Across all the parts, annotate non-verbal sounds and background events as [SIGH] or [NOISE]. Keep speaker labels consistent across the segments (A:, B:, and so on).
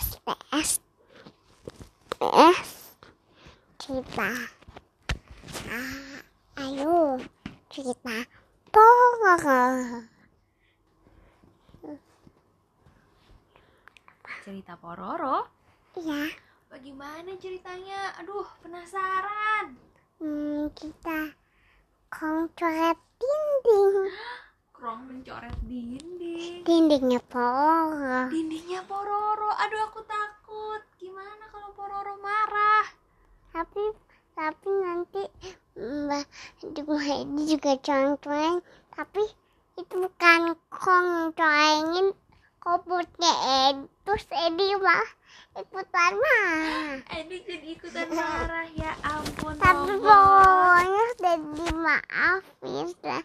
A: S P S P S cerita Ah, ayo cerita poror
B: Cerita Pororo?
A: ya
B: Bagaimana ceritanya? Aduh, penasaran.
A: hmm, kita kontrol dinding
B: Krong mencoret dinding.
A: dindingnya poror
B: Dindingnya Pororo. Aduh, aku takut. Gimana kalau Pororo marah?
A: tapi tapi nanti mbak di rumah ini juga contohin tapi itu bukan kong coengin komputer Ed- terus Edi mah ikutan mah
B: Aduh, Eh, jadi ikutan marah. Ya ampun,
A: tapi
B: Pororo.
A: pokoknya udah dimaafin udah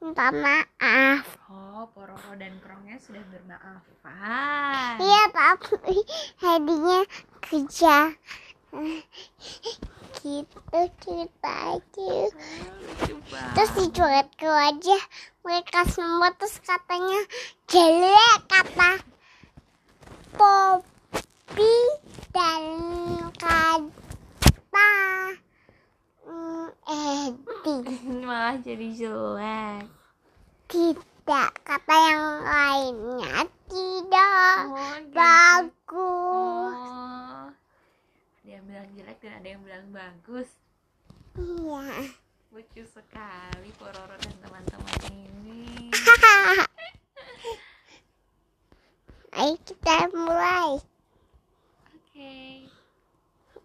A: minta maaf
B: Oh, Pororo dan Krongnya sudah bermaafan.
A: iya tapi Edinya kerja gitu ceritanya
B: Hmm, lucu
A: terus
B: banget.
A: dicoret ke wajah mereka semua terus katanya jelek kata Poppy dan kata mm, Edi
B: Malah jadi jelek.
A: tidak kata yang lainnya tidak
B: Oh, gitu.
A: bagus
B: Oh. Ada yang bilang jelek dan ada yang bilang bagus.
A: iya [LAUGHS]
B: Lucu sekali Pororo dan teman-teman ini.
A: ayo kita mulai
B: Oke.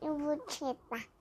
A: ibu cerita